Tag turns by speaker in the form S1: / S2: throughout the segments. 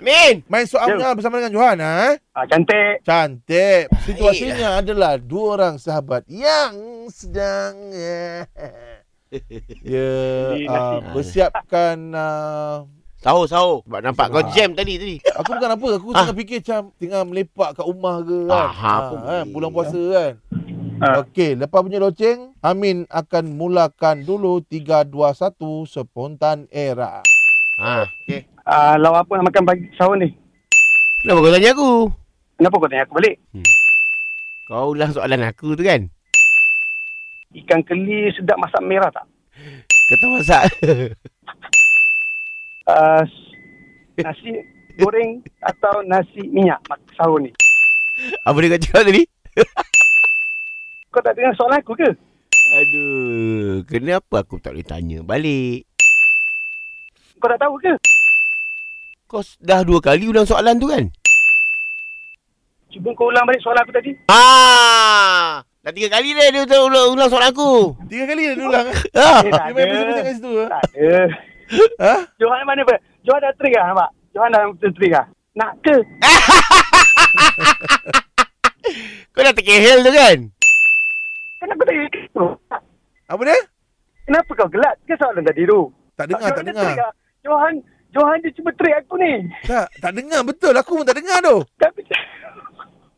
S1: Amin.
S2: Main soal
S3: Jom.
S2: bersama dengan Johan ha? eh?
S3: Ah, cantik.
S2: Cantik.
S3: Ah,
S2: Situasinya adalah dua orang sahabat yang sedang eh, ya uh, bersiapkan uh,
S1: Sahur, sahur. Sebab nampak kau jam tadi tadi.
S2: aku bukan apa aku
S1: Ah.
S2: tengah fikir macam tengah melepak kat rumah ke kan.
S1: Ah, apa
S2: Ah, kan
S1: boleh.
S2: pulang puasa kan.
S3: Ah.
S2: Okey, lepas punya loceng, Amin akan mulakan dulu 3 2 1 spontan era.
S1: Ha. Okay.
S3: Ah, lawa apa nak makan pagi sahur ni?
S1: Kenapa kau tanya aku?
S3: Kenapa kau tanya aku balik?
S1: Kau ulang soalan aku tu kan?
S3: Ikan keli sedap masak merah tak?
S1: Kau tahu masak.
S3: Ah, s- nasi goreng atau nasi minyak mak- sahur ni?
S1: apa dia kau cakap tadi?
S3: Kau tak dengar soalan aku ke?
S1: Aduh. Kenapa aku tak boleh tanya balik?
S3: Kau tak tahu ke?
S1: Kau s- dah dua kali ulang soalan tu kan?
S3: Cuba kau ulang balik soalan aku tadi.
S1: Ah, Dah tiga kali dah dia ulang, ulang, ulang soalan aku.
S2: Tiga kali dah dia ulang.
S1: Ah.
S3: Eh,
S2: Dia
S3: tak
S2: main
S3: ada.
S2: pusing-pusing kat situ. eh?
S3: Tak ada.
S2: Ha?
S3: Johan mana pun? Johan dah trik lah nampak? Johan dah betul trik lah? Nak ke?
S1: Kau dah terkehel tu kan?
S3: Kenapa tak kira
S2: Apa dia?
S3: Kenapa kau gelak ke soalan tadi tu?
S2: Tak dengar, tak
S3: Johan dia
S2: dengar.
S3: trik lah. Johan, Johan dia cuba trik aku ni.
S2: Tak, tak dengar betul. Aku pun tak dengar tu.
S3: Tapi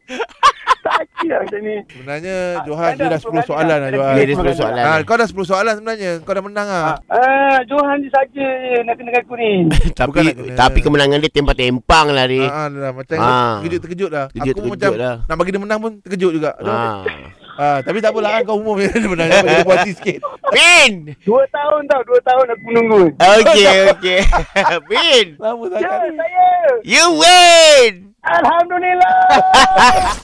S3: tak kira macam ni.
S2: Sebenarnya
S3: Ah,
S2: Eh, Johan dia
S3: dah
S2: dah 10
S3: sepuluh kali
S2: soalan
S3: dah.
S2: lah
S3: Dah
S2: Johan.
S1: Dia
S3: pilih
S1: ada
S3: sepuluh
S1: sepuluh soalan.
S2: Ah, kau dah 10 soalan sebenarnya. Kau dah menang ah.
S3: Ah, Johan dia saja je nak kena dengan aku ni.
S1: tapi
S2: Bukan nak kena.
S1: tapi kemenangan dia tempang-tempang lah dia.
S2: Ah, ah, dah, macam
S1: Ah.
S2: terkejut-terkejut dah.
S1: Terkejut,
S2: aku pun
S1: terkejut
S2: macam
S1: dah.
S2: nak bagi dia menang pun terkejut juga. Ah,
S1: Ah.
S2: tapi tak apalah ah, kau umum dia menang. Kau jadi puas hati sikit.
S1: Bin.
S3: Dua tahun tau, dua tahun aku menunggu.
S2: Eh,
S1: Okey, okey. Bin.
S2: Lama
S3: Ya,
S2: sangat.
S3: saya.
S1: You win.
S3: Alhamdulillah.